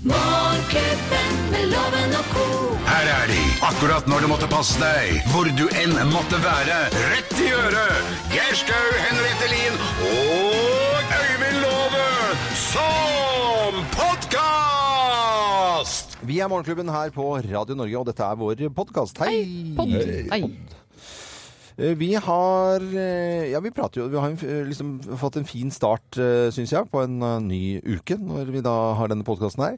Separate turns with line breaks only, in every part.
Morgenklubben med loven og ko.
Her er de, akkurat når du måtte passe deg, hvor du enn måtte være. Rett i øret! Geir Skau, Henriette Lien og Øyvind Låve som podkast!
Vi er Morgenklubben her på Radio Norge, og dette er vår podkast. Hei!
Pod. Ei.
Eh, Vi har eh, Ja, vi prater jo Vi har en f- eh, liksom fått en fin start, syns jeg, på en eh, ny uke, når vi da har denne podkasten her.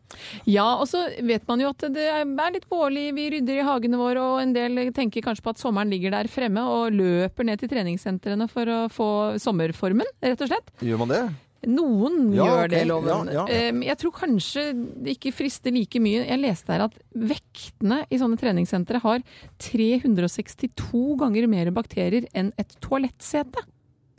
Ja, og så vet man jo at det er litt vårlig, vi rydder i hagene våre, og en del tenker kanskje på at sommeren ligger der fremme og løper ned til treningssentrene for å få sommerformen, rett og slett.
Gjør man det?
Noen
Ja,
gjør
ok.
det, loven.
Ja, ja.
Eh, Jeg tror kanskje det ikke frister like mye. Jeg leste her at vektene i sånne treningssentre har 362 ganger mer bakterier enn et toalettsete.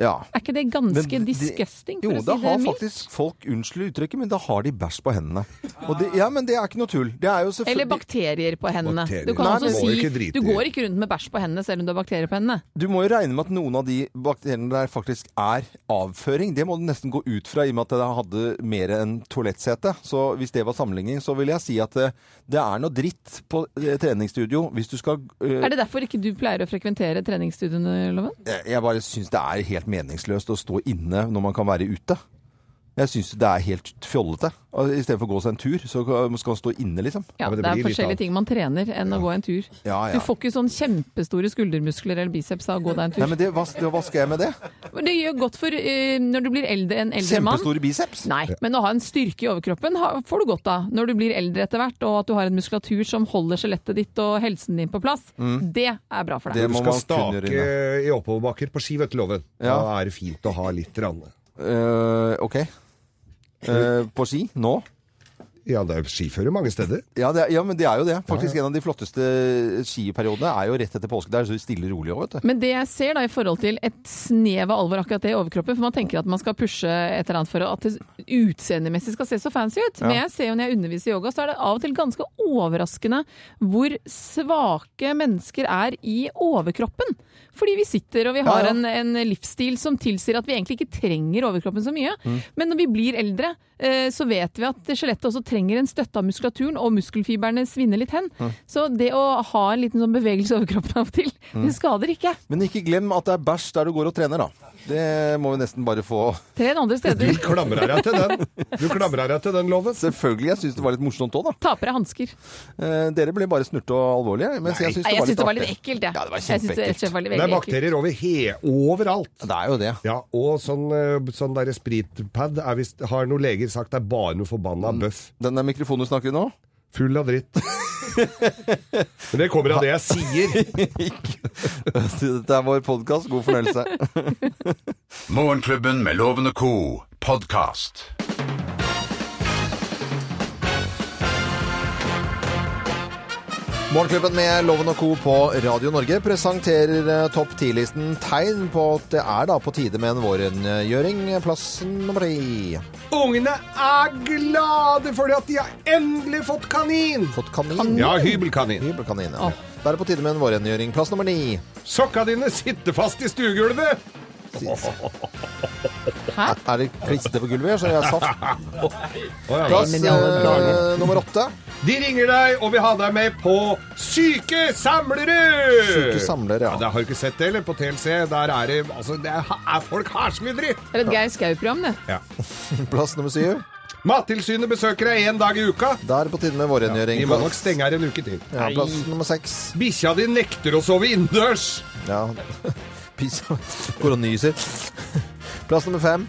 Ja.
Er ikke det
Men
ganske
det-
disgusting, for
jo,
å si det
har
mildt?
faktisk folk Unnskyld uttrykket, men da har de bæsj på hendene. Og det, ja, men det er ikke noe tull. Det er jo
Eller
selvfølgelig
bakterier på hendene.
Bakterier.
Du kan
Nei,
også
men-
Må jo
si
ikke drite
du
i.
går ikke rundt med bæsj på hendene selv om du har bakterier på hendene.
Du må jo regne med at noen av de bakteriene der faktisk er avføring. Det må du nesten gå ut fra, i og med at det hadde mer enn toalettsete. Så hvis det var sammenligning, så vil jeg si at det, det er noe dritt på eh, treningsstudio hvis du skal eh,
Er det derfor ikke du pleier å frekventere treningsstudiene, Loven?
Jeg jeg bare syns det er helt meningsløst å stå inne når man kan være ute. Jeg syns det er helt fjollete. Og I stedet for å gå seg en tur, så skal man stå inne, liksom.
Ja,
men
det,
det
er
blir litt
forskjellige
av-
ting man trener enn å gå en tur.
Ja, ja.
Du får ikke sånn kjempestore skuldermuskler eller biceps av å gå deg en tur.
Nei, men det, hva, hva skal jeg med det?
Men det gjør godt for eh, når du blir eldre, en eldre mann.
Kjempestore biceps?
Nei, men å ha en styrke i overkroppen ha- får du godt av når du blir eldre etter hvert, og at du har en muskulatur som holder skjelettet ditt og helsen din på plass. Det er bra for deg.
Det
Du
må man
skal
kunne
stake
gjøre.
i oppoverbakker på ski, vet du, Loven.
Ja.
Da er det fint å ha litt. Rann.
Eh, OK. Eh, på ski? Nå?
Ja, det er jo skiføre mange steder.
Ja, det er, ja, men det er jo det. Faktisk En av de flotteste skiperiodene er jo rett etter påske. Det er så stille og rolig òg, vet du.
Men det jeg ser da i forhold til et snev av alvor akkurat det i overkroppen, for man tenker at man skal pushe et eller annet for at det utseendemessig skal se så fancy ut. Men jeg ser jo når jeg underviser i yoga, så er det av og til ganske overraskende hvor svake mennesker er i overkroppen. Fordi vi sitter og vi har
ja.
En, en livsstil som tilsier at vi egentlig ikke trenger overkroppen så mye.
Mm.
Men når vi blir eldre, eh, så vet vi at skjelettet også trenger en støtte av muskulaturen, og muskelfiberne svinner litt hen.
Mm.
Så det å ha en liten sånn bevegelse i overkroppen av og til,
Mm.
det skader ikke.
Men ikke glem at det er bæsj der du går og trener, da. Det må vi nesten bare få
Tren andre
Du
steder.
klamrer deg til den, Du klamrer deg til den loven.
Selvfølgelig. Jeg syns det var litt morsomt òg, da.
Taper av hansker.
Eh, dere ble bare snurte og alvorlige. Mens jeg syns
Nei,
det,
jeg
var
syns det var
litt
litt
artig.
ekkelt, jeg.
Ja, det var
jeg. synes det
kjempeekkelt.
rett og slett var
Det er
veldig ekkelt.
bakterier over he overalt.
Det er jo det.
Ja, og sånn, eh, sånn der spritpad er visst, har noen leger sagt det er bare noe forbanna bøff.
Den der mikrofonen du snakker i nå,
Full av dritt. Men det kommer av det jeg sier.
dette er vår podkast. God fornøyelse.
Morgenklubben med Loven og co. podkast.
Morgenklubben med Loven og Co. på Radio Norge presenterer eh, topp 10-listen tegn på at det er da på tide med en vårrengjøring. Plass nummer ti.
Ungene er glade fordi at de har endelig fått kanin!
Fått kanin.
Ja, hybelkanin.
Hybelkanin. Ja. Da er det på tide med en vårrengjøring. Plass nummer ni.
Sokka dine sitter fast i stuegulvet!
Er det klister på gulvet? Så jeg er saft.
Å, ja,
Plass
men i alle
eh,
dager.
nummer åtte.
De ringer deg og vil ha deg med på Syke samlere! Øh.
Syke samlere, ja.
det har du ikke sett det, eller? På TLC. Der er det Altså, det er, er folk har så mye dritt!
Det er et Geir Skau-program, det.
Ja.
Plass nummer syv.
Mattilsynet besøker deg én dag i uka.
Da er det på tide med vårrengjøring.
Vi må nok stenge her en uke til.
Ja, plass nummer seks.
Bikkja di nekter å sove innendørs.
Ja. Piss. Går og nyser. Plass nummer fem.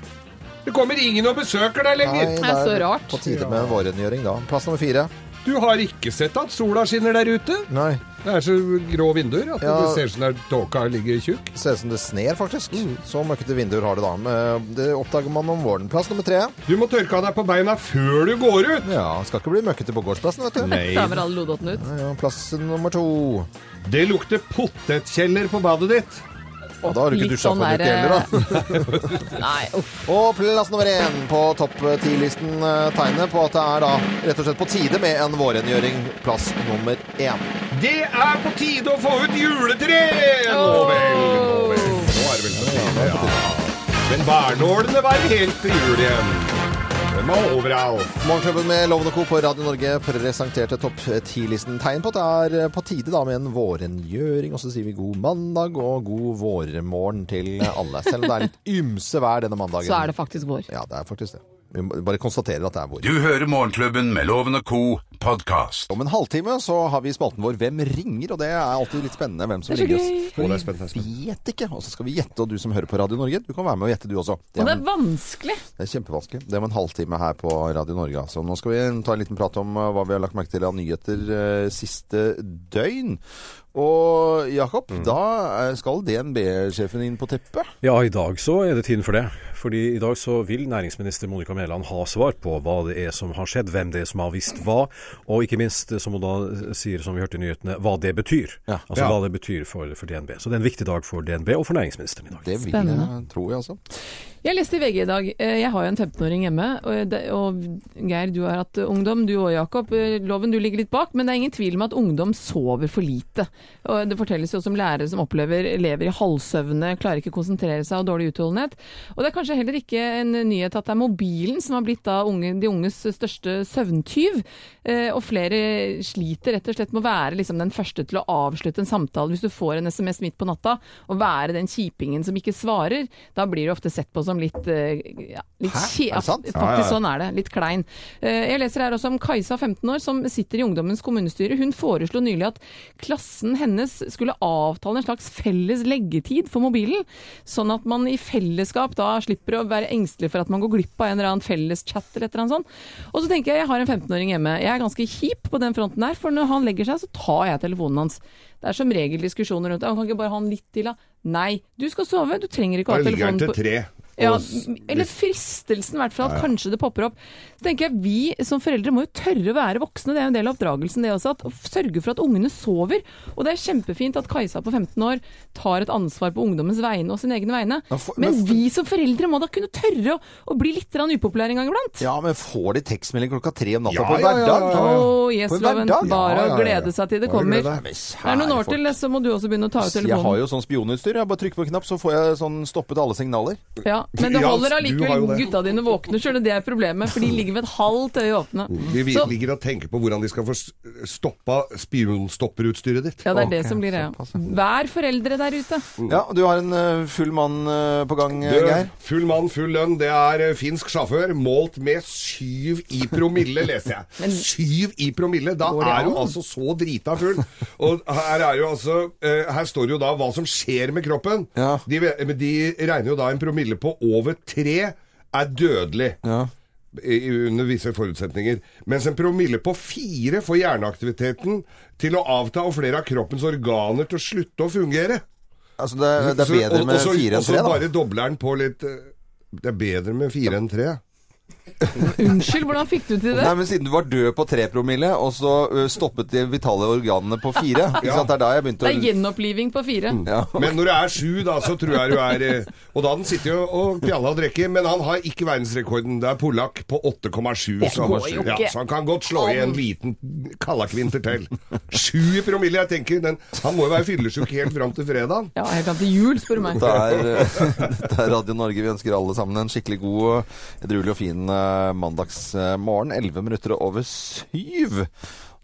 Det kommer ingen og besøker deg lenger.
da
så
det
rart.
På tide med en vårrengjøring, da. Plass nummer fire.
Du har ikke sett at sola skinner der ute?
Nei.
Det er så grå vinduer at
Ja.
det ser ut som der tåka ligger tjukk.
Det ser ut som det sner, faktisk.
Mm.
Så møkkete vinduer har det da. Men, eh, Det oppdager man om våren. Plass nummer tre.
Du må tørke av deg på beina før du går ut.
Ja, skal ikke bli møkkete på gårdsplassen, vet du.
Nei.
Damer alle lodottene ut.
Ja, plass nummer to.
Det lukter potetkjeller på badet ditt.
Ja, da har du ikke
Litt
dusja på en
sånn
uke heller, da.
der, eh, Nei, uff.
Og plass nummer én på topp ti-listen eh, tegnet på at det er da rett og slett på tide med en vårrengjøring. Plass nummer én.
Det er på tide å få ut juletre! Nå vel, nå vel. Nå er det vel på tide, ja. Men barnålene var helt til jul igjen. Den var overalt.
Morgenklubben med Loven og Co. på Radio Norge presenterte topp 10-listen. Tegn på at det er eh, på tide da med en vårengjøring. Og så sier vi god mandag og god vårmorgen til alle. Selv om det er litt ymse vær denne mandagen.
Så er det faktisk vår.
Ja, det er faktisk det. Vi må bare konstaterer at det er vår.
Du hører Morgenklubben med Loven og Co. podkast.
Om en halvtime så har vi spalten vår Hvem ringer? Og det er alltid litt spennende hvem som
Det er så
ringer
gøy.
Å, det er
oss.
spennende, det er
Vi vet ikke. Og så skal vi gjette, og du som hører på Radio Norge, du kan være med og gjette du også. Det
Og
er,
det er vanskelig.
det er kjempevanskelig. Det er om en halvtime her på Radio Norge. altså. nå skal vi ta en liten prat om eh, hva vi har lagt merke til av nyheter eh, siste døgn. Og Jakob, da eh, skal DNB-sjefen inn på teppet.
Ja, i dag så er det tiden for det. Fordi i dag så vil næringsminister Monica Mæland ha svar på hva det er som har skjedd, hvem det er som har visst hva, og ikke minst, som hun da sier, som vi hørte i nyhetene, hva det betyr.
Ja.
Altså
Ja.
hva det betyr for, for DNB. Så det er en viktig dag for DNB og for næringsministeren i dag.
Det vil jeg
Spennende.
tro, jeg, altså.
Jeg leste i VG i dag. eh, Jeg har jo en 15-åring hjemme. Og det- og Geir, du har hatt eh, ungdom. Du og Jakob. eh, Loven, du ligger litt bak. Men det er ingen tvil om at ungdom sover for lite. Og det fortelles jo også om lærere som opplever lever i halvsøvne, klarer ikke å konsentrere seg og dårlig utholdenhet. Og det er kanskje heller ikke en nyhet at det er mobilen som har blitt da unge, de unges største søvntyv. Eh, Og flere sliter rett og slett med å være liksom den første til å avslutte en samtale hvis du får en SMS midt på natta, og være den kjipingen som ikke svarer, da blir du ofte sett på som litt, eh, ja, litt
Hæ? Er det sant?
Faktisk sånn er det. Litt klein. Eh, Jeg leser her også om Kajsa, 15 år, som sitter i Ungdommens kommunestyre. Hun foreslo nylig at klassen hennes skulle avtale en slags felles leggetid for mobilen, sånn at man i fellesskap da slipper å være engstelig for at man går glipp av en eller annen felleschatt eller et eller annet sånt. Og så tenker jeg, jeg har en 15-åring hjemme. Jeg er ganske kjip på den fronten her, for når han legger seg, så tar jeg telefonen hans. Det er som regel diskusjoner rundt det. Han kan ikke bare ha den litt til, da. Nei, du skal sove, du trenger ikke å ha
Da ligger
telefonen
den
på
til tre.
ja,
Og s-
eller fristelsen i hvert fall, at kanskje det popper opp. Så tenker jeg Vi som foreldre må jo tørre å være voksne, det er jo en del av oppdragelsen det også. At f- sørge for at ungene sover. Og det er kjempefint at Kajsa på 15 år tar et ansvar på ungdommens vegne og sine egne vegne.
Ja, for-
Men
men-
vi som foreldre må da kunne tørre å, å bli litt grann upopulære en gang iblant.
Ja, men får de tekstmelding klokka tre om natta
Ja,
på en
ja, ja,
hverdag?
ja, ja.
Åh, yes,
På en
Loven.
hverdag?
Bare
Ja,
å
ja, ja.
glede seg til det
Bare
kommer.
Men
glede
Det er noen år
kjære
til,
folk.
så må du også begynne å
Altså,
ta ut
Jeg har
telefonen.
jo sånn spionutstyr. Jeg bare trykker på en knapp, så får jeg sånn stoppet alle signaler.
Ja, men det
Ja,
holder
du har jo
allikevel.
det.
Gutta dine våkner, sjøl, og det er problemet. For de ligger med et halvt øye åpne.
Vi vi
Så-
ligger og tenker på hvordan de skal få s- stoppa spionstopperutstyret ditt.
Ja, det er det
Ok,
som blir
såpass,
det.
ja.
Vær foreldre der ute.
Ja, du har en eh, full mann eh, på gang, eh,
Du,
Geir.
full mann, full lønn. Det er eh, finsk sjåfør målt med syv i promille, leser jeg. syv i promille! Da
det
er du
an?
altså så drita full. Og her er jo altså eh, Her står det jo da hva som skjer med kroppen.
Ja.
De, ve- men de regner jo da en promille på over tre er dødelig.
Ja.
i- Under visse forutsetninger. Mens en promille på fire får hjerneaktiviteten til å avta og flere av kroppens organer til å slutte å fungere.
Altså, det, er- det er
Så-
bedre
og-
med
og så-
fire enn
Og
tre,
så
da.
bare dobler den på litt eh, Det er bedre med fire enn tre.
Unnskyld, hvordan fikk du til det?
Nei, men Siden du var død på tre promille, og så eh, stoppet de vitale organene på fire ikke sant? Det er da jeg begynte
Det
å
er gjenoppliving på fire.
Mm.
Men når du er sju, da, så tror jeg du er eh, Og da den sitter jo og pjalla og drikker, men han har ikke verdensrekorden. Det er polakk på 8,7. Så,
går jo
ja,
ikke
så han kan godt slå i en liten kallakvinter til. Sju i promille, jeg tenker. Den, han må jo være fyllesyk helt fram til fredag.
Ja, helt fram til jul, spør du meg.
Dette er, dette er Radio Norge. Vi ønsker alle sammen en skikkelig god, edruelig og fin eh, mandagsmorgen. 11 minutter over syv.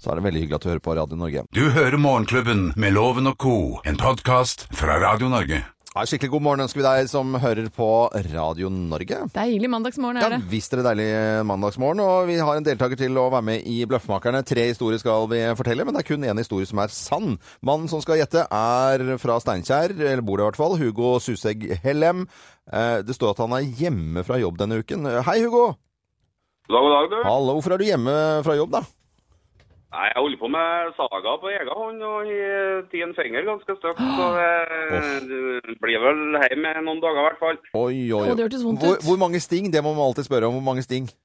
Så er det veldig hyggelig at du hører på Radio Norge.
Du hører Morgenklubben med Loven og Co., en podkast fra Radio Norge.
Ja, skikkelig god morgen ønsker vi deg som hører på Radio Norge.
Deilig mandagsmorgen
Ja,
er det.
visst er det deilig eh, mandagsmorgen, og vi har en deltaker til å være med i Bløffmakerne. Tre historier skal vi fortelle, men det er kun én historie som er sann. Mannen som skal gjette, er fra Steinkjer, eller bor der i hvert fall, Hugo Susegg Hellem. Eh, Det står at han er hjemme fra jobb denne uken. Hei, Hugo!
God dag, god dag, du.
Hallo, hvorfor er du hjemme fra jobb, da?
Nei, jeg holder på med saga på egen hånd og i ti en finger ganske støkt. Så det blir vel hjemme noen dager i hvert fall.
Oi, oi,
Å, det
oi.
hørtes vondt
Hvor,
ut.
hvor mange sting? Det må man alltid spørre om. Hvor mange sting?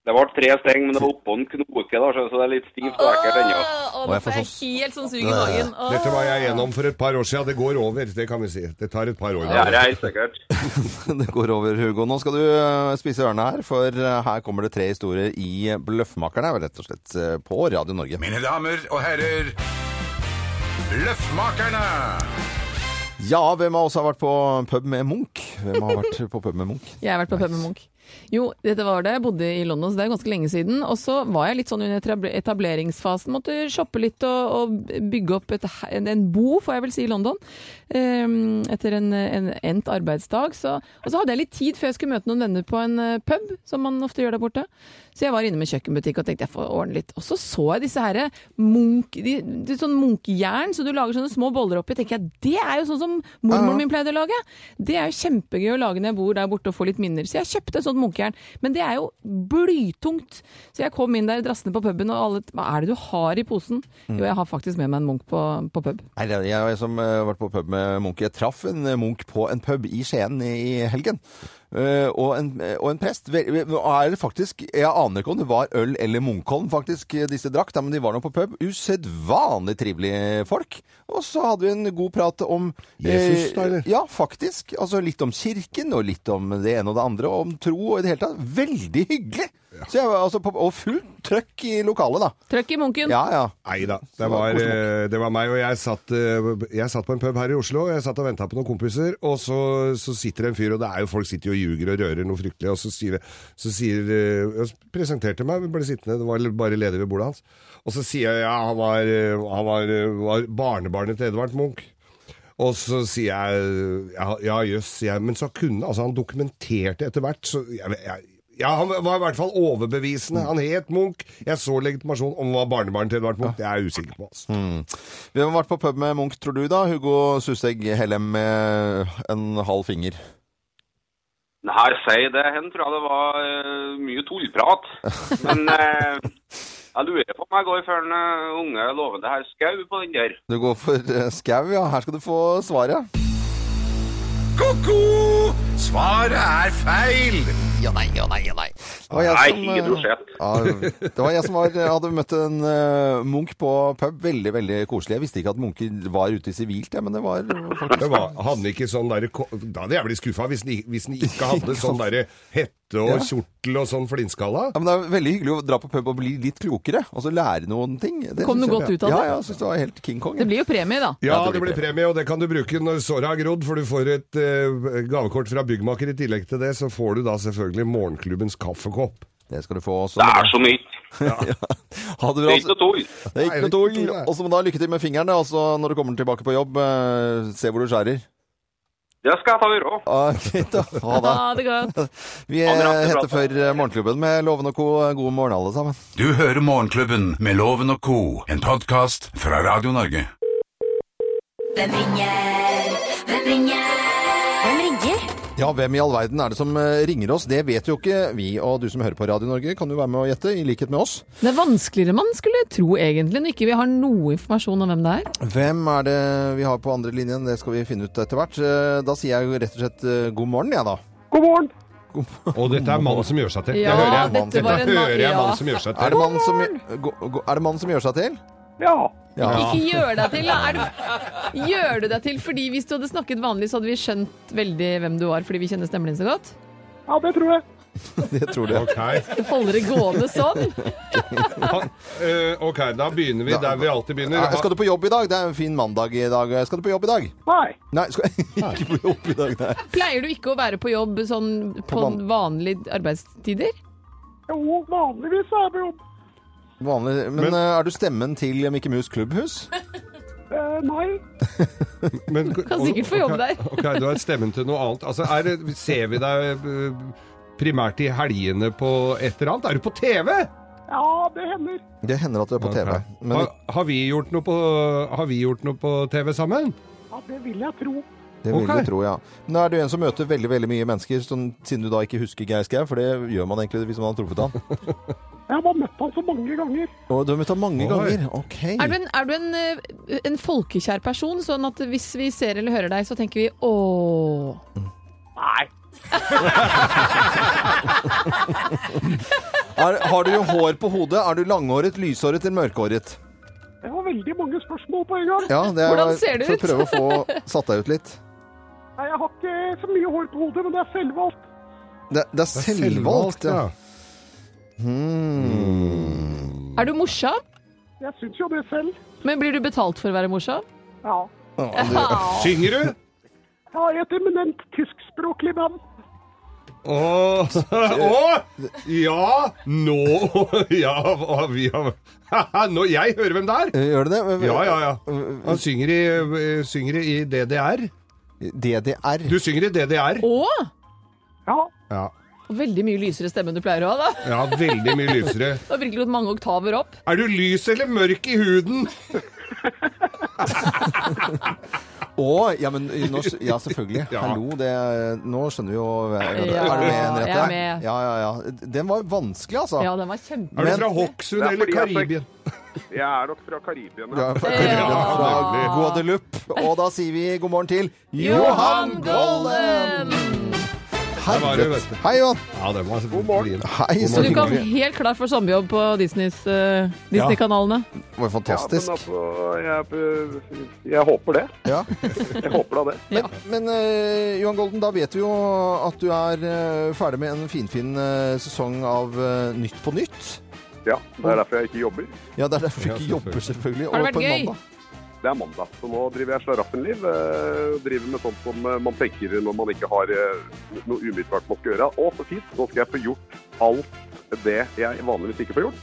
Det ble tre steng, men det var oppå en knoke, da, så det er litt stivt og ekkelt ennå.
Å,
Å,
nå
jeg får
får jeg helt sånn sug i magen. Å.
Dette var jeg gjennom for et par år siden. Det går over, det kan vi si. Det tar et par år.
Det er det helt sikkert.
Det går over, Hugo. Nå skal du eh, spise ørene her, for eh, her kommer det tre historier i Bløffmakerne, rett og slett eh, på Radio Norge.
Mine damer og herrer, Løffmakerne!
Ja, hvem av oss har vært på pub med Munch? Hvem har vært på pub med Munch?
Jeg har vært på Peppermunk. Jo, dette var det. Jeg bodde i London, så det er ganske lenge siden. Og så var jeg litt sånn under etab- etableringsfasen. Måtte shoppe litt og, og bygge opp et, he- en, en bo, får jeg vel si, i London. Ehm, etter en, en endt arbeidsdag. Så, og så hadde jeg litt tid før jeg skulle møte noen venner på en eh, pub, som man ofte gjør der borte. Så jeg var inne med kjøkkenbutikk og tenkte jeg får ordne litt. Og så så jeg disse herre munk... De, de, sånn munkjern, så du lager sånne små boller oppi. Tenker jeg, det er jo sånn som mormoren min pleide å lage. Det er jo kjempegøy å lage når jeg bor der borte og får litt minner. Så jeg kjøpte et sånt munkjern. Men det er jo blytungt. Så jeg kom inn der drassende på puben, og alle Hva er det du har i posen?
Mm.
Jo, jeg har faktisk med meg en munk på, på pub.
Nei, det er- Jeg, jeg som eh, har vært på pub med Munch, jeg traff en eh, Munch på en pub i Skien i helgen. Eh, og, en, eh, og en prest. Vel- vel, nå Er det faktisk, jeg aner ikke om det var øl eller Munkholm faktisk eh, disse drakk, da, men de var nå på pub. Usedvanlig trivelige folk. Og så hadde vi en god prat om eh,
Jesus, da, eller?
Ja, faktisk. Altså litt om kirken, og litt om det ene og det andre, og om tro og i det hele tatt. Veldig hyggelig! Så jeg, var altså, på, og fullt trøkk i lokalet, da.
Trøkk i munken!
Ja, ja.
Nei da. Det
det var
var,
koselig.
eh, det var meg, og jeg satt, eh, jeg satt på en pub her i Oslo. og Jeg satt og venta på noen kompiser, og så, så sitter det en fyr, og det er jo folk sitter jo og ljuger og rører noe fryktelig, og så sier, så sier eh, jeg presenterte meg, ble sittende, det var bare ledig ved bordet hans. Og så sier jeg ja, han var, eh, han var, eh, var barnebarnet til Edvard Munch. Og så sier jeg ja, ja jøss, jeg, men så kunne altså han dokumenterte etter hvert. Så jeg, jeg, ja, han var i hvert fall overbevisende. Han het Munch. Jeg så legitimasjon om han var barnebarn til Edvard Munch. Det er jeg usikker på. altså.
Mm. Vi har vært på pub med Munch, tror du da? Hugo Susegg Hellem med en halv finger.
Nei, si det. Hen tror jeg det var eh, mye tullprat. Men eh, jeg lurer på om jeg går for en eh, unge lovende herr Skau på den der.
Du går for eh, skau, ja. Her skal du få svaret.
Ko-ko! Svaret er feil!
Ja, nei, ja, nei, ja, nei. Det var jeg
Nei,
som, eh,
hydrosjef.
ja, det var jeg som var, hadde møtt en eh, Munch på pub. Veldig, veldig koselig. Jeg visste ikke at Munch var ute i sivilt, jeg, men det var faktisk
Det var, han gikk i sånn der, ko- Da hadde jeg blitt skuffa hvis, den i- hvis den ikke hadde sånn derre hette og kjortel og sånn flinskalla.
ja, men Det er veldig hyggelig å dra på pub og bli litt klokere, og så lære noen ting. Det
Kom noe
synes jeg-
godt ut av det?
Ja, ja, jeg syns det var helt King Kong.
Det blir jo premie, da.
Ja, det blir premie, og det kan du bruke når såret har grodd, for du får et eh, gavekort fra byggmaker. I tillegg til det så får du da selvfølgelig morgenklubbens kaffekopp.
Det skal du få også.
Det er så mye.
Ha det
Det
bra. altså.
er ikke noe tull.
Det er ikke
Nei, det er
noe tull.
ikke noe tull, nei.
Og så må du ha lykke til med fingrene, og så når du kommer tilbake på jobb, eh, se hvor du skjærer.
Det skal jeg ta øre òg.
Ah, greit, da. Ha det.
Ha det godt.
Vi
Ha det bra,
eh,
det er bra.
heter for eh, Morgenklubben med Loven og Co. God morgen, alle sammen.
Du hører Morgenklubben med Loven og Co., en podkast fra Radio Norge.
Hvem ringer? Hvem ringer? Hvem ringer?
Ja, hvem i all verden er det som eh, ringer oss? Det vet jo ikke vi, og du som hører på Radio Norge kan jo være med å gjette, i likhet med oss.
Det er vanskeligere enn man skulle tro, egentlig, når ikke vi har noe informasjon om hvem det er.
Hvem er det vi har på andre linjen? Det skal vi finne ut etter hvert. Eh, Da sier jeg jo rett og slett eh, god morgen, jeg, ja, da.
Og dette er mannen som gjør seg til.
Ja,
det hører jeg.
dette var en mann-
dette hører jeg
ja.
mannen som gjør seg
Er
til.
det mannen som, go- go- er det mannen som gjør seg til? Ja.
Ikke gjør deg til, da! Er du, gjør du deg til fordi hvis du hadde snakket vanlig, så hadde vi skjønt veldig hvem du var, fordi vi kjenner stemmen din så godt?
Det tror jeg.
Ok,
Du holder det gående sånn?
Ha- eh, ok, da begynner vi der vi alltid begynner.
Ja, skal du på jobb i dag? Det er en fin mandag i dag. Skal du på jobb i dag?
Nei.
Nei, skal ikke på jobb i dag, nei.
Pleier du ikke å være på jobb sånn på
van-
vanlige arbeidstider?
Jo, vanligvis er jeg på jobb.
Vanlig. Men,
Men-
eh, er du stemmen til Mikke Mus klubbhus?
Eh, nei.
Ah, Men-
Kan sikkert få jobb
ok,
der.
Ok, du har stemmen til noe annet. Altså, er det, ser vi deg eh, primært i helgene på et eller annet? Er du på TV?
Ja, det hender.
Det hender at du er på TV.
Ok. Ah,
Men
har, har, vi gjort noe på, har vi gjort noe på TV sammen?
Ja, det vil jeg tro.
det vil
ok.
jeg tro, ja. Nå er du en som møter veldig veldig mye mennesker, sånn, siden du da ikke husker Geir Skau, for det gjør man egentlig hvis man har truffet han.
Jeg har møtt han så mange ganger.
Og du har møtt ham mange
Oi.
ganger. Ok.
Er du en, er du en, eh, en folkekjær person, sånn at hvis vi ser eller hører deg, så tenker vi ååå.
Nei.
Er, har du hår på hodet? Er du langhåret, lyshåret eller mørkhåret?
Det var veldig mange spørsmål på en gang.
Ja, det er,
Hvordan ser det
for
ut?
å prøve å få satt deg ut litt.
Nei, jeg har ikke så mye hår på hodet, men det er selvvalgt.
Det, det er selvvalgt, ja.
Er du morsom?
Jeg syns jo det selv.
Men blir du betalt for å være morsom?
Ja.
Ja, du-
Synger du?
Jeg har et eminent tyskspråklig band.
Åh, åh, ja, nå, ja, åh, vi har, Haha, nå, jeg hører hvem det er.
Eh, Gjør det det?
Ja, ja, ja. Han synger i, eh, synger i DDR.
DDR.
Du synger i DDR.
Å!
Ja.
Ja,
Veldig mye lysere stemme enn du pleier å ha, da.
ja veldig mye lysere.
Du har virkelig gått mange oktaver opp.
Er du lys eller mørk i huden?
Å, ja, men nå, s- ja, selvfølgelig.
Ja.
Hallo, det, nå skjønner vi jo hva- hva det er.
Ja,
Er du med, Henriette?
jeg er med.
Ja, ja, ja. Den var vanskelig, altså.
Ja, den var kjempe...
Er du
Men-
fra Hokksund
Det er
eller
fordi at jeg-
Karibien?
Jeg er nok fra Karibien.
Ja,
Ja.
fra,
Ja.
fra Guadeloupe. Og da sier vi god morgen til
Johan
Johan
Golden!
Golden!
Der var det, vet du.
Helvete. Hei, Johan.
Ja, det var God morgen.
Hei,
Så
så
du kom
hyggelig.
helt klar for sommerjobb på Disneys, eh, Disney-kanalene?
Det var
men
fantastisk.
altså, jeg, jeg håper det.
Ja.
Jeg håper da det.
Men, men eh, Johan Golden, da vet vi jo at du er eh, ferdig med en finfin uh, sesong av eh, Nytt på nytt.
Ja, Det er derfor jeg ikke jobber.
Ja, det er derfor du
Ja,
ikke jobber, selvfølgelig.
Har det
og på
vært
en
gøy?
mandag.
Det er mandag, så nå driver jeg slaraffenliv. eh, Driver med sånt som eh, man tenker når man ikke har eh, noe umiddelbart man skal gjøre. Å, så fint, nå skal jeg få gjort alt det jeg vanligvis ikke får gjort.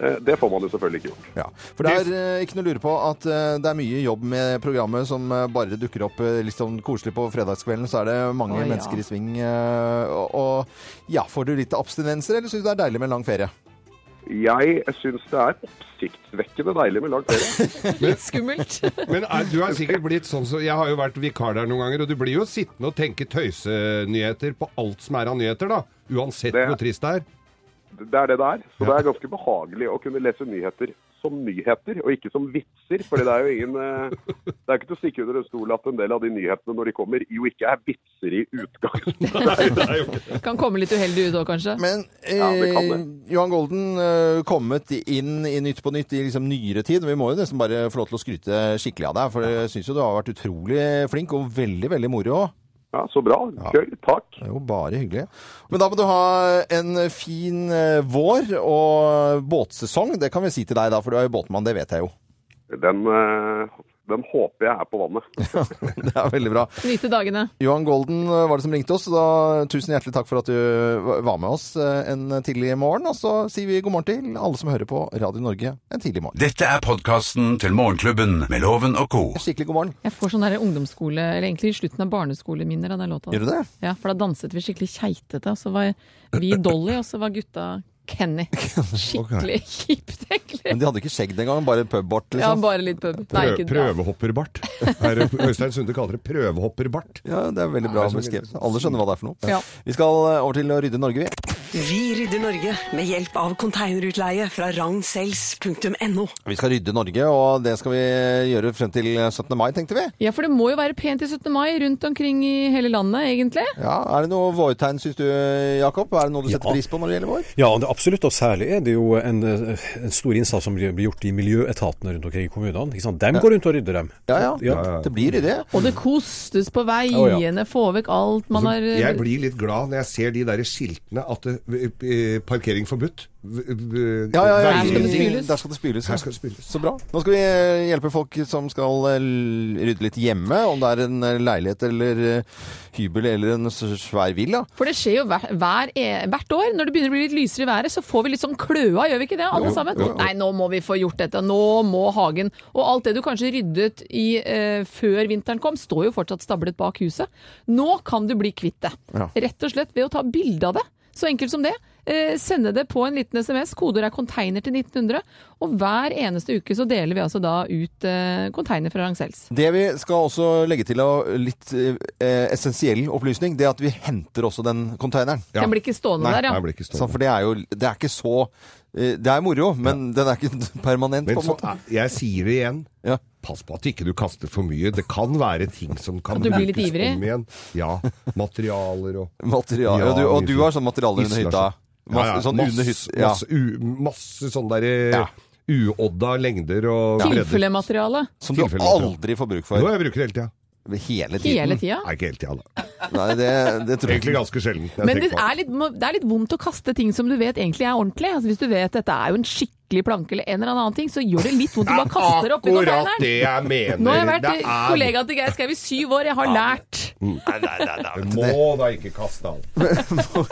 Eh, Det får man jo selvfølgelig ikke gjort.
Ja, for det er eh, ikke noe å lure på at eh, det er mye jobb med programmet som eh, bare dukker opp eh, litt sånn koselig på fredagskvelden, så er det mange
Å, ja.
mennesker i sving. eh, og, og ja, får du litt abstinenser, eller syns du det er deilig med en lang ferie?
Jeg syns det er oppsiktsvekkende deilig med lang ferie.
Litt skummelt.
Men er, du har sikkert blitt sånn som Jeg har jo vært vikar der noen ganger, og du blir jo sittende og tenke tøysenyheter på alt som er av nyheter, da. Uansett
Det-
hvor trist det er.
Det er det det er. Så det er ganske behagelig å kunne lese nyheter som nyheter, og ikke som vitser. For det er jo ingen eh, Det er ikke til å stikke under en stol at en del av de nyhetene når de kommer, jo ikke er vitser i utgangspunktet.
Kan komme litt uheldig ut òg, kanskje.
Men eh,
Ja, det kan
Johan Golden eh, kommet inn i Nytt på Nytt i liksom nyere tid. Vi må jo nesten bare få lov til å skryte skikkelig av deg, for jeg syns jo du har vært utrolig flink og veldig, veldig moro òg.
Ja, så bra. Gøy. Takk.
Det er jo bare hyggelig. Men da må du ha en fin eh, vår og båtsesong. Det kan vi si til deg da, for du er jo båtmann, det vet jeg jo.
Den, eh, den håper jeg er på vannet.
Det er veldig bra.
Nyte dagene.
Johan Golden eh, var det som ringte oss. Da, tusen hjertelig takk for at du var med oss eh, en tidlig morgen. Og så sier vi god morgen til alle som hører på Radio Norge en tidlig morgen.
Dette er podkasten til Morgenklubben med Loven og co.
Skikkelig god morgen.
Jeg får sånn der ungdomsskole, eller egentlig i slutten av barneskoleminner av den låta.
Gjør du det?
Ja, for da danset vi skikkelig keitete, og så var vi Dolly, og så var gutta Kenny. Skikkelig kjipt, egentlig.
Men de hadde ikke skjegg den gangen, bare pubbart,
Ja,
liksom.
bare litt pub. Nei,
Prø
ikke bra.
prøvehopperbart. Er det- Øystein Sunde kaller det prøvehopperbart.
Ja, det er veldig bra beskrevet. Alle skjønner hva det er for noe.
Ja.
Vi skal eh, over til å rydde Norge, vi.
Vi rydder Norge med hjelp av containerutleie fra rangsells.no.
Vi skal rydde Norge, og det skal vi gjøre frem til 17. mai, tenkte vi.
Ja, for det må jo være pent i 17. mai rundt omkring i hele landet, egentlig.
Ja, Er det noe vårtegn, syns du, Jakob? Er det noe du setter pris på når det gjelder vår?
Ja, det absolutt, og særlig er det jo en, eh, en stor innsats som blir blir gjort i miljøetatene rundt omkring i kommunene. Ikke sant? Dem går rundt og rydder dem.
Ja, ja.
Ja.
Det blir ryddig.
Og det kostes på
Å, ja.
veiene, få vekk alt
Altså,
man har eh,
Jeg blir litt glad når jeg ser de der skiltene at det, eh, parkering forbudt. V- v-
Ja, ja, ja.
Her skal det
veier-
spyles.
Der skal det spyles.
Her
ja.
skal det spilles.
Så bra. Nå skal vi eh, hjelpe folk som skal eh, l- rydde litt hjemme, om det er en eh, leilighet eller eh, hybel eller en s- svær villa.
For det skjer jo hver, hver, e- hvert år. Når det begynner å bli litt lysere i været, så får vi litt sånn kløa, gjør vi ikke det? Alle sammen. Nei, nå må vi få gjort dette. Nå må hagen. Og alt det du kanskje ryddet i eh, før vinteren kom, står jo fortsatt stablet bak huset. Nå kan du bli kvitt det.
Ja.
Rett og slett ved å ta bilde av det. Så enkelt som det. Eh, sende det på en liten SMS. Kodeord er container til 1900. Og hver eneste uke så deler vi altså da ut eh, container fra Ragn-Sells.
Det vi skal også legge til av litt eh, essensiell opplysning, det er at vi henter også den konteineren.
Ja.
Den blir ikke stående
Nei,
Sånn der, ja.
jeg blir ikke
Så,
stående.
for det er jo Det er ikke så eh, Det er moro, men den er ikke permanent,
Men
på en
så, eh,
måte.
jeg sier det igjen.
Ja.
Pass på at ikke du kaster for mye. Det kan være ting som kan
At du blir litt
brukes
ivrig?
om igjen. Ja. Materialer og
Material.
Ja,
og, du, og
nydelig.
du har sånn materiale under
Isolasjon.
hytta? Masse,
Ja, ja,
Sånn under
masse,
hytta? Ja.
masse, u, masse sånn derre
Ja.
uodda lengder og bredder.
Tilfellemateriale.
Som du
tilfelle materiale.
aldri får bruk
Jo,
for.
jeg bruker det hele tida.
Hele tiden.
Hele tida.
Nei, ikke hele tida, da.
Nei, det, det tror jeg
Egentlig
ikke.
ganske sjelden. jeg
Men det
tenker på.
er, litt, det er litt vondt å kaste ting som du vet egentlig er ordentlig. Altså, hvis du vet dette er jo en skikkelig planke eller en eller annen ting, så gjør det litt vondt å bare kaste det oppi
Akkurat
containeren.
det jeg mener.
Nå har jeg vært
Det er-
kollega til Geir Skau i syv år, jeg har lært.
Nei, nei, nei, nei. Må da ikke kaste alt.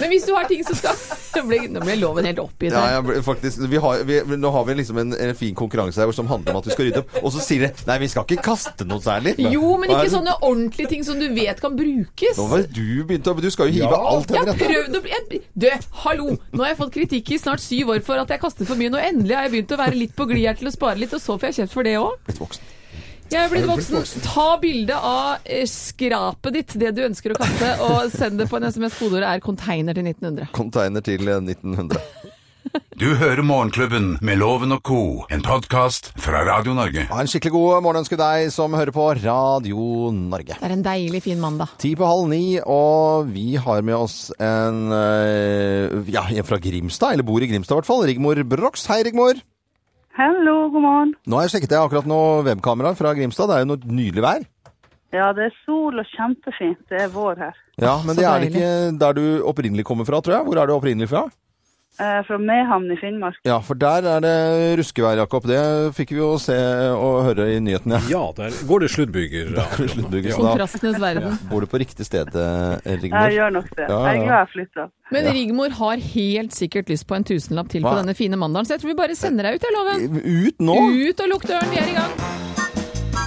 Men hvis du har ting som skal Nå ble, nå ble loven helt oppgitt.
Ja,
her.
ja, bl- faktisk. Vi har, vi, nå har vi liksom en, en fin konkurranse her som handler om at vi skal rydde opp. Og så sier de nei, vi skal ikke kaste noe særlig.
Jo, men
Hva er
ikke sånn-
det-
sånne ordentlige ting som du vet kan brukes.
Nå var det du begynte å Du skal jo hive
Ja.
alt
Jeg
her.
har prøvd å bli jeg- Du, hallo! Nå har jeg fått kritikk i snart syv år for at jeg kaster for mye. Nå endelig har jeg begynt å være litt på glid her til å spare litt, og så får jeg kjeft for det òg.
Blitt voksen.
Jeg er blitt voksen. Ta bilde av eh, skrapet ditt, det du ønsker å kaste, og send det på en SMS. Kodeordet er 'container' til 1900.
Container til eh, 1900.
Du hører Morgenklubben med Loven og co., en podkast fra Radio Norge.
Ha en skikkelig god morgenønske deg som hører på Radio Norge.
Det er en deilig, fin mandag.
Ti på halv ni, og vi har med oss en eh, ja, en fra Grimstad, eller bor i Grimstad i hvert fall. Rigmor Brox. Hei, Rigmor.
Hallo, god morgen.
Nå har jeg sjekket jeg akkurat noen webkameraer fra Grimstad. Det er jo noe nydelig vær.
Ja, det er sol og kjempefint. Det er vår her.
Ja, men
så
det er
deilig.
det ikke der du opprinnelig kommer fra, tror jeg. Hvor er du opprinnelig fra?
Eh, fra Mehamn i Finnmark.
Ja, for der er det ruskevær, Jakob. Det fikk vi jo se og høre i nyhetene.
Ja, der går det sluddbyger. akkurat nå.
Sluttbygger, så da
Kontrastenes verden.
bor du på riktig sted, eh,
Jeg
Rigmor.
gjør nok det.
Ja, ja.
Jeg er glad jeg flytta.
Men Rigmor har helt sikkert lyst på en tusenlapp til på
Hva?
denne fine mandagen, så jeg tror vi bare sender deg ut, jeg, Loven.
Ut nå!
Ut og lukk døren, vi er i gang.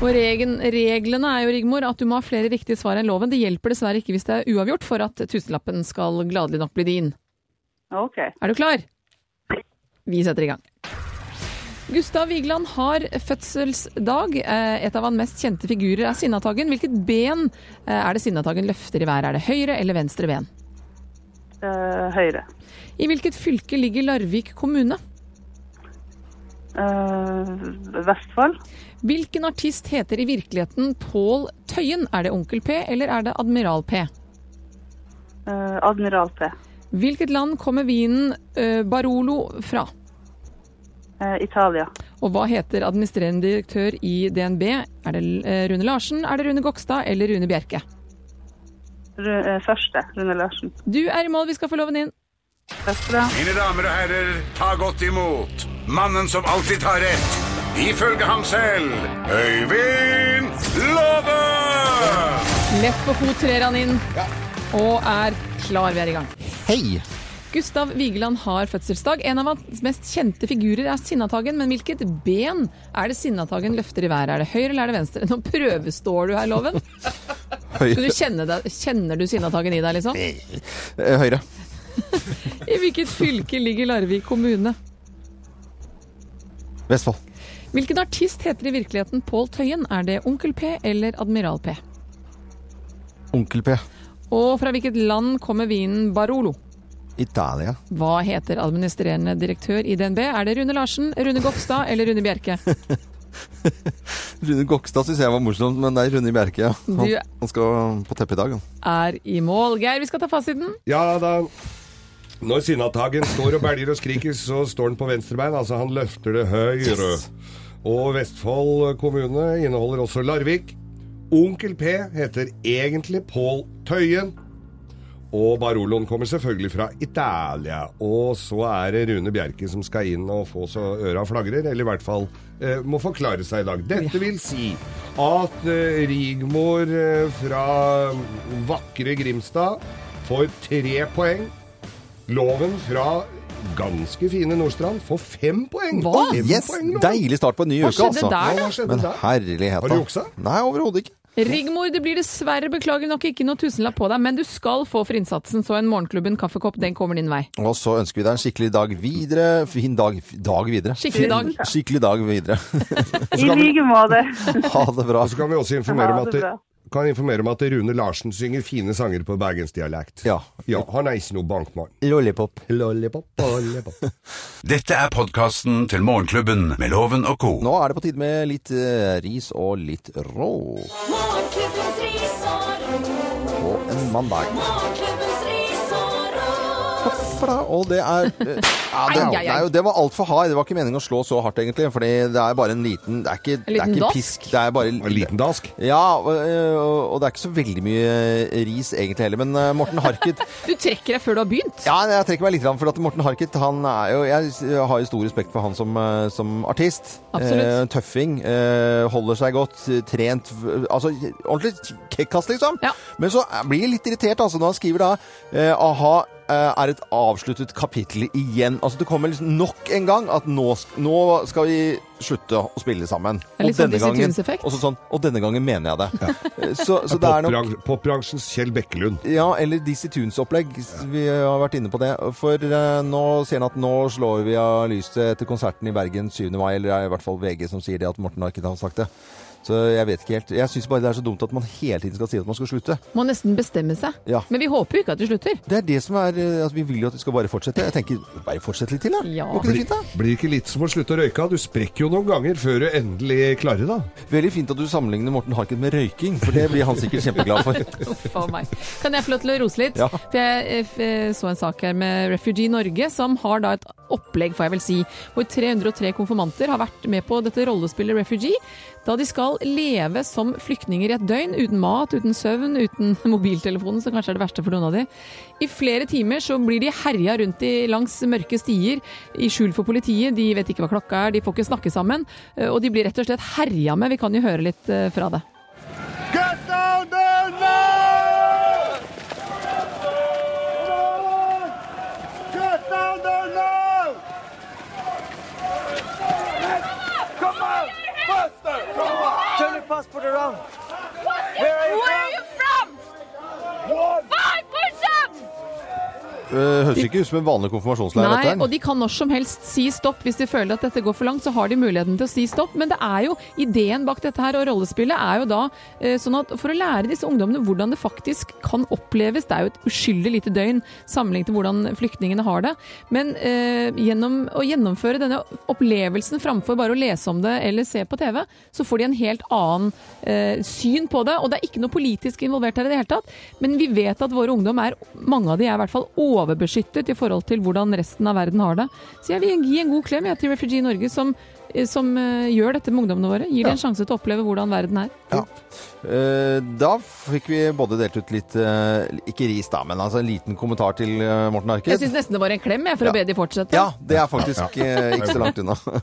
Og regen, reglene er jo, Rigmor, at du må ha flere riktige svar enn loven. Det hjelper dessverre ikke hvis det er uavgjort for at tusenlappen skal gladelig nok bli din.
OK.
Er du klar? Vi setter i gang. Gustav Vigeland har fødselsdag. Eh, Et av hans mest kjente figurer er Sinnataggen. Hvilket ben eh, er det Sinnataggen løfter i været? Er det høyre eller venstre ben?
Eh, høyre.
I hvilket fylke ligger Larvik kommune?
Eh, Vestfold.
Hvilken artist heter i virkeligheten Pål Tøyen? Er det Onkel P eller er det Admiral P?
Eh, Admiral P.
Hvilket land kommer vinen eh, Barolo fra?
Eh, Italia.
Og hva heter administrerende direktør i DNB? Er det eh, Rune Larsen, er det Rune Gokstad eller Rune Bjerke?
Ru eh, første. Rune Larsen.
Du er i mål, vi skal få loven inn.
Takk for det.
Mine damer og herrer, ta godt imot mannen som alltid tar rett, ifølge ham selv, Øyvind Låve!
Lett på fot trer han inn og er klar. Vi er i gang.
Hei!
Gustav Vigeland har fødselsdag. En av hans mest kjente figurer er Sinnataggen, men hvilket ben er det Sinnataggen løfter i været? Er det høyre eller er det venstre? Nå prøvestår du her, Loven. Så du
Høyre.
kjenner, deg, kjenner du Sinnataggen i deg, liksom?
Eh, Høyre.
I hvilket fylke ligger Larvik kommune?
Vestfold.
Hvilken artist heter i virkeligheten Pål Tøyen? Er det Onkel P eller Admiral P?
Onkel P.
Og fra hvilket land kommer vinen Barolo?
Italia.
Hva heter administrerende direktør i DNB? Er det Rune Larsen, Rune Gokstad eller Rune Bjerke?
Rune Gokstad syns jeg var morsomt, men det er Rune Bjerke. ja. Han,
Du-
han skal på teppet i dag, han.
Er i mål. Geir, vi skal ta fasiten.
Ja da Når Sinnataggen står og belger og skriker, så står han på venstrebein. Altså, han løfter det høyre. Og Vestfold kommune inneholder også Larvik. Onkel P heter egentlig Pål Tøyen. Og Baroloen kommer selvfølgelig fra Italia. Og så er det Rune Bjerke som skal inn og få så øra flagrer, eller i hvert fall eh, må forklare seg i dag. Dette vil si at eh, Rigmor eh, fra vakre Grimstad får tre poeng. Loven fra ganske fine Nordstrand får fem poeng.
Hva?
Fem
Yes!
poeng, Loven.
Deilig start på en ny
Hva
uke,
skjedde
altså.
der,
Ja,
da?
hva skjedde
Men
der?
herlighet,
Har du juksa?
Nei, overhodet ikke.
Rigmor, det blir dessverre beklager nok ikke noe tusenlapp på deg, men du skal få for innsatsen, så en morgenklubben kaffekopp, den kommer din vei.
Og så ønsker vi deg en skikkelig dag videre. Fin dag, dag videre.
Skikkelig dag.
Skikkelig dag videre.
I like måte.
Ha det bra.
Og så Altså, kan vi også informere om
Ha
at,
det bra.
kan informere om at Rune Larsen synger fine sanger på bergensdialekt.
Ja.
ja. Han er ikke noe bankmann.
Lollipop.
Lollipop, lollipop.
Dette er podkasten til Morgenklubben med Loven og co.
Nå er det på tide med litt eh, ris og litt rå
Morgenklubbens risår,
på en mandag.
morgenklubbens risår.
Og det er eh, ja, det,
Ai, ai, ai.
det er jo, det var altfor hard. Det var ikke meningen å slå så hardt, egentlig. Fordi det er bare en liten Det er ikke, det er
liten
ikke
dask?
pisk. Det er bare
En liten dask.
Ja, og, og og det er ikke så veldig mye ris egentlig heller. Men eh, Morten Harket
Du trekker deg før du har begynt.
Ja, jeg trekker meg litt, rann, for at Morten Harket han er jo, Jeg har jo stor respekt for han som, eh, som artist.
Absolutt.
Eh, tøffing. Eh, holder seg godt. eh, Trent. v- Altså ordentlig kekkas, liksom.
Ja.
Men så eh, blir jeg litt irritert altså, når han skriver da eh, a-ha eh, er et avsluttet kapittel igjen. Altså Det kommer liksom nok en gang at nå, sk- nå skal vi slutte å spille sammen.
er litt sånn Dizzy
gangen,
Tunes-effekt.
og så sånn, og denne gangen mener jeg det. Eh, Så, så det er nok
Popbran- Popbransjens Kjell Bekkelund.
ja, eller Dizzie Tunes-opplegg. Vi har vært inne på det. For eh, nå ser han at nå slår vi av lyset etter konserten i Bergen 7. mai, eller det er i hvert fall VG som sier det, at Morten Harket har sagt det. Så jeg vet ikke helt. Jeg syns bare det er så dumt at man hele tiden skal si at man skal slutte.
Må nesten bestemme seg.
Ja.
Men vi håper jo ikke at du slutter.
Det er det som er eh, at Vi vil jo at vi skal bare fortsette. Jeg tenker bare fortsett litt til, da.
Ja.
Går ikke det fint, da?
Blir ikke litt som å slutte å røyke? Du sprekker jo noen ganger før du endelig klarer det. da.
Veldig fint at du sammenligner Morten Harket med røyking, for det blir han sikkert kjempeglad for.
Uff a meg. Kan jeg få lov til å rose litt?
Ja.
For jeg eh, f- eh, så en sak her med Refugee Norge, som har da et opplegg, får jeg vel si, hvor 303 konfirmanter har vært med på dette rollespillet Refugee, da de skal leve som flyktninger i et døgn, uten mat, uten søvn, uten mobiltelefonen, som kanskje er det verste for noen av de. I flere timer så blir de herja rundt i, langs mørke stier, i skjul for politiet, de vet ikke hva klokka er, de får ikke snakke sammen, eh, og de blir rett og slett herja med. Vi kan jo høre litt eh, fra det.
er er
Eh, Høres ikke ut som en vanlig konfirmasjonsleir,
Nei,
dette her.
og de kan når som helst si stopp. Hvis de føler at dette går for langt, så har de muligheten til å si stopp. Men det er jo ideen bak dette her, og rollespillet er jo da eh, sånn at for å lære disse ungdommene hvordan det faktisk kan oppleves Det er jo et uskyldig lite døgn sammenlignet med hvordan flyktningene har det. Men eh, gjennom å gjennomføre denne opplevelsen framfor bare å lese om det eller se på TV, så får de en helt annen eh, syn på det. Og det er ikke noe politisk involvert her i det hele tatt. Men vi vet at våre ungdom er, mange av de er i hvert fall overbeskyttet i forhold til hvordan resten av verden har det. Så jeg vil gi en god klem jeg, til Refugee Norge, som, eh, som eh, gjør dette med ungdommene våre. Gir dem en sjanse til å oppleve hvordan verden er.
Eh, Da fikk vi både delt ut litt eh, Ikke ris, da, men altså en liten kommentar til eh, Morten Harket.
Jeg syns nesten det var en klem jeg, for
Ja.
å be de fortsette.
Ja, det er faktisk eh, ikke så langt unna.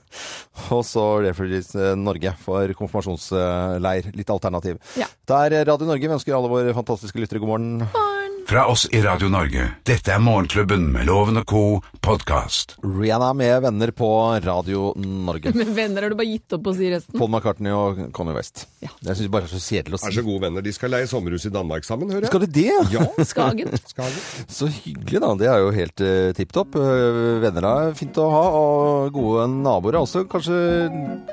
Og så Refugees eh, Norge for konfirmasjonsleir. Litt alternativ.
Ja.
Det er Radio Norge. Vi ønsker alle våre fantastiske lyttere god morgen.
Fra oss i Radio Norge. Dette er Morgenklubben med Loven og co. podkast.
Rihanna med venner på Radio Norge.
Men venner har du bare gitt opp å si resten.
Paul McCartney og Connie West.
Ja.
Jeg syns bare det er så kjedelig å si.
Er så gode venner. De skal leie sommerhus i Danmark sammen, hører jeg.
Skal det det?
Ja,
Skagen.
skal de.
Så hyggelig, da. Det er jo helt uh, tipp topp. Eh, venner er fint å ha, og gode naboer er også kanskje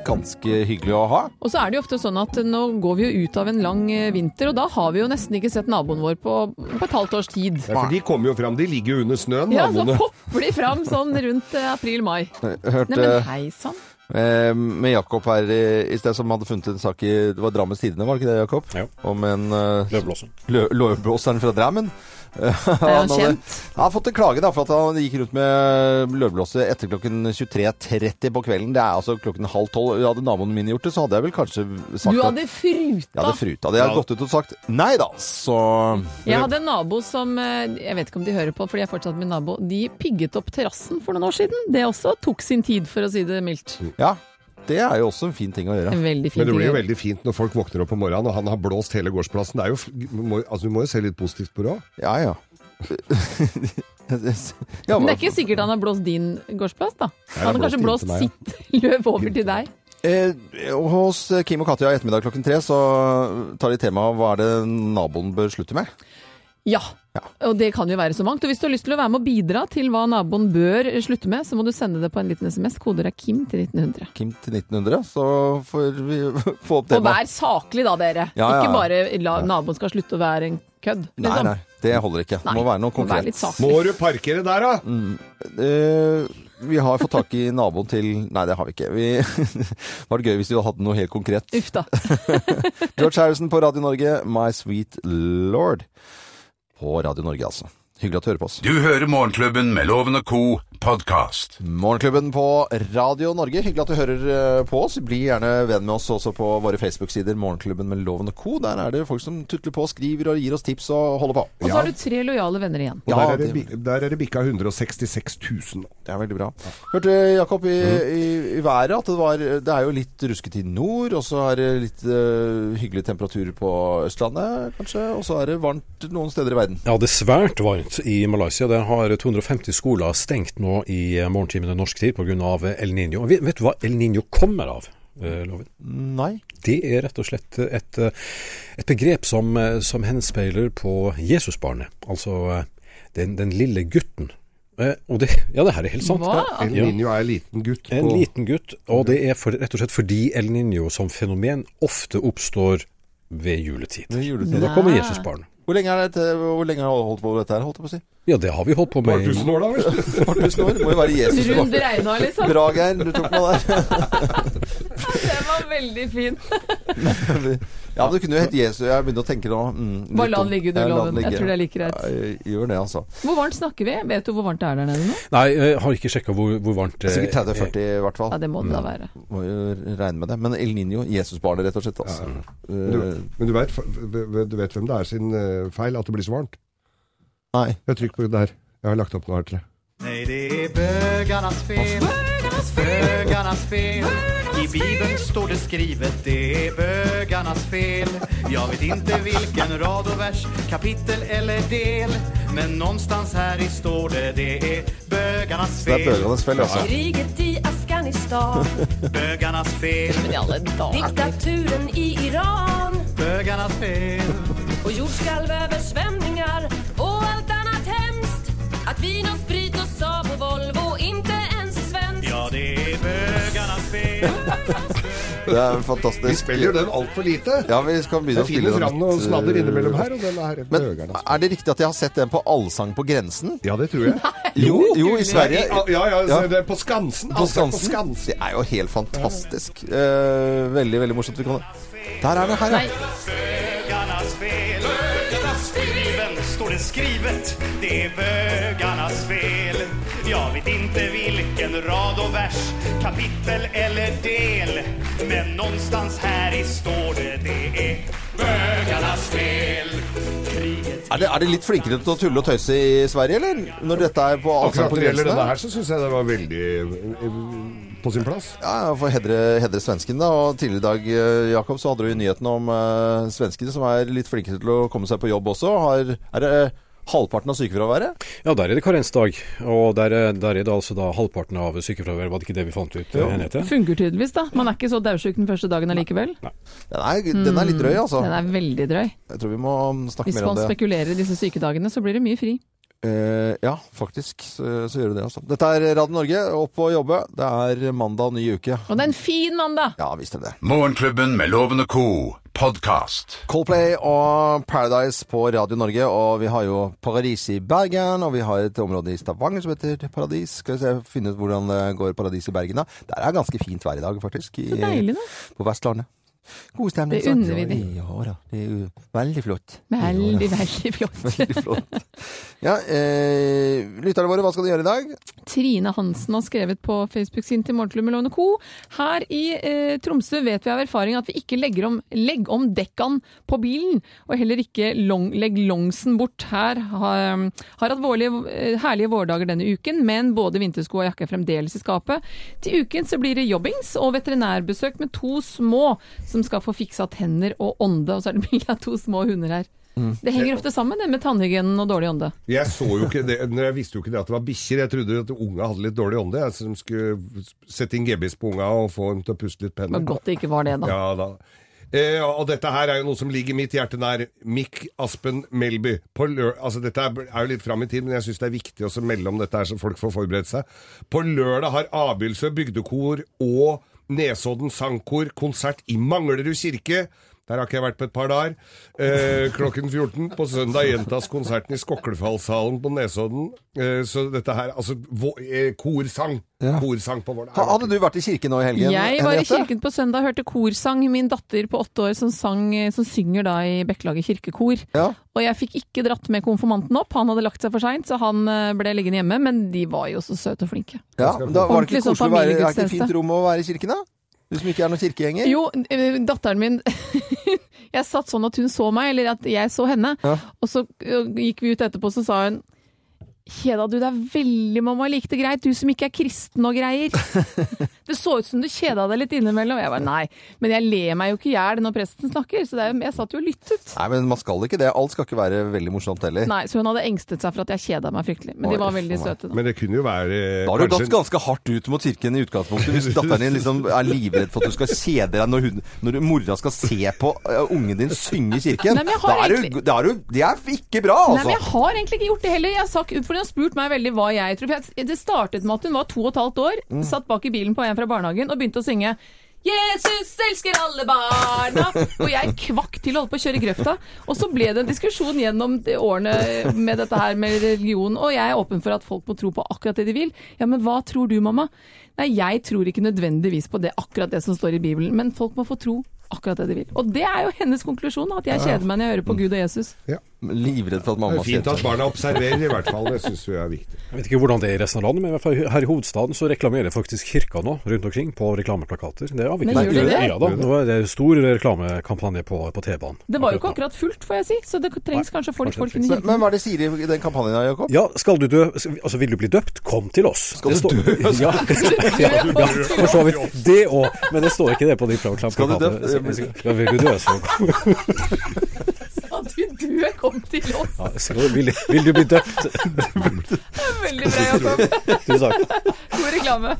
ganske hyggelig å ha.
Og så er det jo ofte sånn at nå går vi jo ut av en lang eh, vinter, og da har vi jo nesten ikke sett naboen vår på, på et halvt års tid.
Ja, for de kommer jo fram. De ligger jo under snøen,
Ja, så
naboene.
popper de fram sånn rundt eh, april-mai.
Hørte
Nei, men hei sann.
Eh, med Jakob her i, i sted, som hadde funnet en sak i Det var Drammens Tidende, var det ikke det, Jakob?
Jo.
Om en eh,
Løvblåsen.
lø- løvblåseren fra Drammen.
Er han
hadde-
kjent?
han har fått en klage da, for at han gikk rundt med løvblåser etter klokken 23.30 på kvelden. Det er altså klokken halv tolv. Hadde naboen min gjort det, så hadde jeg vel kanskje sagt
Du
at
hadde
jeg
fruta.
hadde fruta. Hadde jeg
Ja.
gått ut og sagt nei da, så
Jeg hadde en nabo som eh, Jeg vet ikke om de hører på, fordi jeg er fortsatt min nabo. De pigget opp terrassen for noen år siden. Det også tok sin tid, for å si det mildt.
Ja. Det er jo også en fin ting å gjøre.
En veldig fin
Men det
ting.
blir jo
å gjøre.
veldig fint når folk våkner opp om morgenen og han har blåst hele gårdsplassen. Det er jo, f- må, altså, du må jo se litt positivt på det òg.
Ja, ja. ja
Men det er ikke sikkert han har blåst din gårdsplass, da. Han har
det
kanskje
blåste
blåst
inn til
sitt løv over til deg.
Eh, hos Kim og Katja i ettermiddag klokken tre så tar de temaet hva er det naboen bør slutte med.
Ja. Og det kan jo være så mangt. Og hvis du har lyst til å være med og bidra til hva naboen bør slutte med, så må du sende det på en liten SMS. Koder er Kim til 1900.
Kim til 1900, så får vi få opp
Og
temaet.
vær saklig da, dere.
Ja, ja, ja.
Ikke bare la, naboen skal slutte å være en kødd.
Nei,
liksom.
nei, det holder ikke. Det må være noe
Vær litt sånn.
konkret. Mm.
saklig.
Må du parkere der, da?
Eh, vi har fått tak i naboen til Nei, det har vi ikke. Vi... det var gøy hvis vi hadde hatt noe helt konkret.
Uff da.
George Harrison på Radio Norge, My Sweet Lord. På Radio Norge, altså. Hyggelig at du hører på oss.
Du hører Morgenklubben med Loven og Co. podkast.
Morgenklubben på Radio Norge, hyggelig at du hører eh, på oss. Bli gjerne venn med oss også på våre Facebook-sider, Morgenklubben med Loven og Co. Der er det folk som tutler på, skriver og gir oss tips og holder på.
Og så har du tre lojale venner igjen.
Og
Ja,
der, er det,
det-
bi- der er det bikka 166 000.
Det er veldig bra. Hørte eh, Jakob i,
Mm.
i, i været at det var Det er jo litt ruskete i nord, og så er det litt eh, hyggelig temperatur på Østlandet, kanskje. Og så er det varmt noen steder i verden.
Ja, det er svært varmt i Malaysia. Det har 250 skoler stengt nå i morgentimene norsk tid pga. El Niño. Og Vet vet du hva El Niño kommer av? eh, Loven?
Nei.
Det er rett og slett et, eh, et begrep som, eh, som henspeiler på Jesusbarnet. Altså eh, den, den lille gutten. Eh, Og det, ja, det her er helt sant.
Hva?
El
Ja.
Niño er en liten gutt.
En
på-
liten gutt, og det er for, rett og slett fordi El Niño som fenomen ofte oppstår ved juletid.
Det er juletid.
Og da kommer Jesusbarnet.
Hvor lenge er det, hvor lenge har du holdt på med dette her, holdt jeg på å si?
Ja, det har vi holdt på med. i-
1000 år, da vel?
Et par tusen år? Må jo være Jesus. som var-
Rund regna, liksom.
Bra, Geir. Du tok meg der.
Det var veldig fint.
Ja, men du kunne jo hett Jesus. Jeg begynner å tenke nå. Mm, litt
Bare la
om-
den ligge
Ja,
under
la den
loven. Jeg
ligge.
tror det er like greit.
Ja, jeg Gjør det, altså.
Hvor varmt snakker vi? Vet du hvor varmt det er der nede nå?
Nei, jeg har ikke sjekka hvor, hvor varmt eh, det
Sikkert 30-40 i hvert fall.
Ja, det må det da være.
Må jo regne med det. Men El Niño, Jesusbarnet, rett og slett. Altså.
Du,
Eh,
men du vet, du vet hvem det er sin eh, feil at det blir så varmt?
nei.
Jeg trykker på det her. Jeg har lagt opp noe her til deg.
Nei, det er bøgernes fel. Bøgernes fel. I Bibeln står det skrivet det är bögarnas fel. Jag vet inte vilken rad och vers, kapitel eller del. Men någonstans här i står det det är bögarnas
Det er
fel.
bøgernes fell, altså.
Kriget i Afghanistan,
Bögarnas fel.
Men i alle dager.
diktaturen i Iran
Bögarnas fel.
og jordskjelvöversvämningar og alt annet hemskt. At vin og sprit og Saab og Volvo inte ens er svensk.
Ja, det är bögarnas fel.
Det er fantastisk.
Vi spiller jo den altfor lite.
Ja, vi skal begynne å
Jeg
spille
finner
den
fram noe
litt,
snadder
eh,
innimellom altså. her, og den er rett
Men
med øgerne.
er det riktig at jeg har sett den på Allsang på grensen?
Ja, det tror jeg.
Jo, jo, i Sverige.
Ja, ja, ja,
Ja.
det er på Skansen.
På
altså,
Skansen. Det er jo helt fantastisk. Eh, veldig, veldig morsomt. Vi kan... Der er det her,
Nei,
ja.
Bögarnas fel. Bögarnas fel. I Bibeln står det skrivet, det är bögarnas fel. Jag vet inte vilken rad och vers, kapitel eller del. Men någonstans här i står det, det är bögarnas fel. Kriget.
Er det, er det litt flinkere til å tulle og tøyse i Sverige, eller? Når dette er på Allsang
Akkurat
på
når det gjelder
grensen?
denne
da?
her, så syns jeg det var veldig eh, på sin plass.
Ja, jeg får hedre, hedre svensken da, og tidligere i dag, eh, Jakob, så hadde du jo nyheten om eh, svenskene som er litt flinkere til å komme seg på jobb også. Har, er det eh, halvparten av sykefraværet?
Ja, der er det karensdag. Og der, er- der er det altså da halvparten av sykefraværet. Var det ikke det vi fant ut? eh, Henriette?
funker tydeligvis, da. Man er ikke så daudsjuk den første dagen allikevel.
Den er, den er litt drøy, altså.
Mm, Den er veldig drøy.
Jeg tror vi må mm, snakke
Hvis
mer
man
om det.
spekulerer i disse sykedagene, så blir det mye fri.
Eh, ja, faktisk så, så gjør du det, altså. Dette er Radio Norge, opp og jobbe. Det er mandag, ny uke.
Og det er en fin mandag!
Ja, visst er det det.
Morgenklubben med Loven og Co. podkast.
Coldplay og Paradise på Radio Norge, og vi har jo Paradis i Bergen, og vi har et område i Stavanger som heter Paradis. Skal vi se, finne ut hvordan det går Paradis i Bergen, da. Der er ganske fint vær i dag, faktisk. I,
Så deilig, da.
På Vestlandet. God stemning.
Det
sant?
unner vi de.
Ja da, det er jo veldig flott.
Veldig,
Ja, da.
veldig flott.
Veldig flott. Ja, eh, lytterne våre, hva skal de gjøre i dag?
Trine Hansen har skrevet på Facebook-siden til Morgenklubben Lovende Co. Her i eh, Tromsø vet vi av erfaring at vi ikke legger om, legg om dekkene på bilen, og heller ikke long, legg longsen bort. Her har, har hatt vårlige, eh, herlige vårdager denne uken, men både vintersko og jakke er fremdeles i skapet. Til uken så blir det jobbings og veterinærbesøk med to små som skal få fiksa tenner og ånde, og så er det bilde av to små hunder her. Det henger ofte sammen det med tannhygienen og dårlig ånde.
Jeg så jo ikke det, men jeg visste jo ikke det at det var bikkjer. Jeg trodde at unga hadde litt dårlig ånde. Jeg som skulle sette inn gebis på unga og få dem til å puste litt
Det var
penner.
godt det ikke var det, da.
Ja da. Eh, og dette her er jo noe som ligger mitt hjerte nær. Mikk Aspen Melby. På lø altså, dette er er jo litt fram i tid, men jeg syns det er viktig å melde om dette her, så folk får forberedt seg. På lørdag har Abildsø bygdekor og Nesodden sangkor konsert i Manglerud kirke. Der har ikke jeg vært på et par dager. Eh, klokken 14 på søndag gjentas konserten i Skoklefallshallen på Nesodden. Eh, så dette her Altså, vå- eh, korsang!
Ja.
Korsang på Vål.
Ha- Hadde du vært i kirken nå i helgen?
Jeg var i
Henriette?
kirken på søndag og hørte korsang. Min datter på åtte år som, sang, eh, som synger da i Bekkelaget kirkekor.
Ja.
Og jeg fikk ikke dratt med konfirmanten opp, han hadde lagt seg for seint, så han eh, ble liggende hjemme. Men de var jo så søte og flinke.
ja. Da var det
Ordentlig
ikke
sånn
koselig å være Er det ikke
familiegudstjeneste.
fint rom å være i kirken, da? Du som ikke er noen kirkegjenger?
Jo, eh, datteren min Jeg satt sånn at hun så meg, eller at jeg så henne.
Ja.
Og så eh, gikk vi ut etterpå, så sa hun Kjeda du, det er veldig mamma likte det greit, du som ikke er kristen og greier. det så ut som du kjeda deg litt innimellom. Jeg bare nei, men jeg ler meg jo ikke i hjel når presten snakker, så det er, jo- jeg satt jo og lyttet.
Nei, men man skal ikke det. Alt skal ikke være veldig morsomt heller.
Nei, så hun hadde engstet seg for at jeg kjeda meg fryktelig. Men de
Oi,
var
for
veldig
meg.
søte. da.
Men det kunne jo være eh,
Da har du
kanskje-
gått ganske hardt ut mot kirken i utgangspunktet, hvis datteren din liksom er livredd for at du skal kjede deg når, hun, når mora skal se på eh, ungen din synge i kirken.
Nei, men jeg har
da er du,
egentlig-
da er du, det er ikke bra,
Nei, men
altså!
jeg har egentlig ikke gjort det heller. Jeg har sagt, for Hun har spurt meg veldig hva jeg tror. For jeg, det startet med at hun var to og et halvt år, satt bak i bilen på en fra barnehagen og begynte å synge. Jesus elsker alle barna! Og jeg kvakk til og holdt på å kjøre i grøfta. Og så ble det en diskusjon gjennom de årene med dette her med religion, og jeg er åpen for at folk må tro på akkurat det de vil. Ja, men hva tror du, mamma? Nei, jeg tror ikke nødvendigvis på det, akkurat det som står i Bibelen, men folk må få tro akkurat det de vil. Og det er jo hennes konklusjon, da, at jeg kjeder meg når jeg hører på Gud og Jesus.
Livredd for at
Det
mamma
er fint
ser
at barna observerer, i hvert fall. Det syns vi er viktig.
Jeg vet ikke hvordan det er i resten av landet, men i hvert fall her i hovedstaden så reklamerer faktisk kirka nå rundt omkring på reklameplakater. Det er avviklet.
Men gjør de det?
Ja da, nå er det stor reklamekampanje på, på T-banen.
Det var jo ikke akkurat fullt, får jeg si, så det trengs
Nei,
kanskje å få litt
kanskje
folk
det
inn i
Men,
kirken.
men hva er det sier i den kampanjen da, Jakob?
Ja, skal du dø, altså vil du bli døpt, kom til oss. Skal
du
dø? Ja, ja, ja, for så vidt det òg, men det står ikke det på de
Skal du dø?
reklameplatene. Ja, vil du dø, så
Ja, du, du kom til oss!
ja, skal, vil, vil du bli døpt?
Veldig bra, Jakob.
Tusen takk.
God reklame.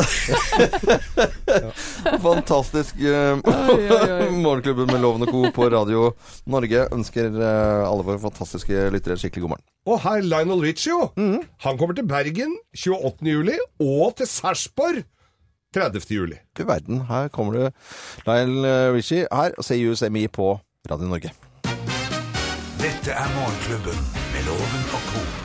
Fantastisk. eh,
Oi, oi, oi.
Morgenklubben med Loven og Co. på Radio Norge ønsker eh, alle våre fantastiske lyttere skikkelig god morgen.
Og her Lionel Richie, jo. Han kommer til Bergen 28. juli, og til Sarpsborg 30. juli.
Du verden, her kommer det Lyle Richie her og ser USMI på Radio Norge.
Dette er Morgenklubben med Loven og Co.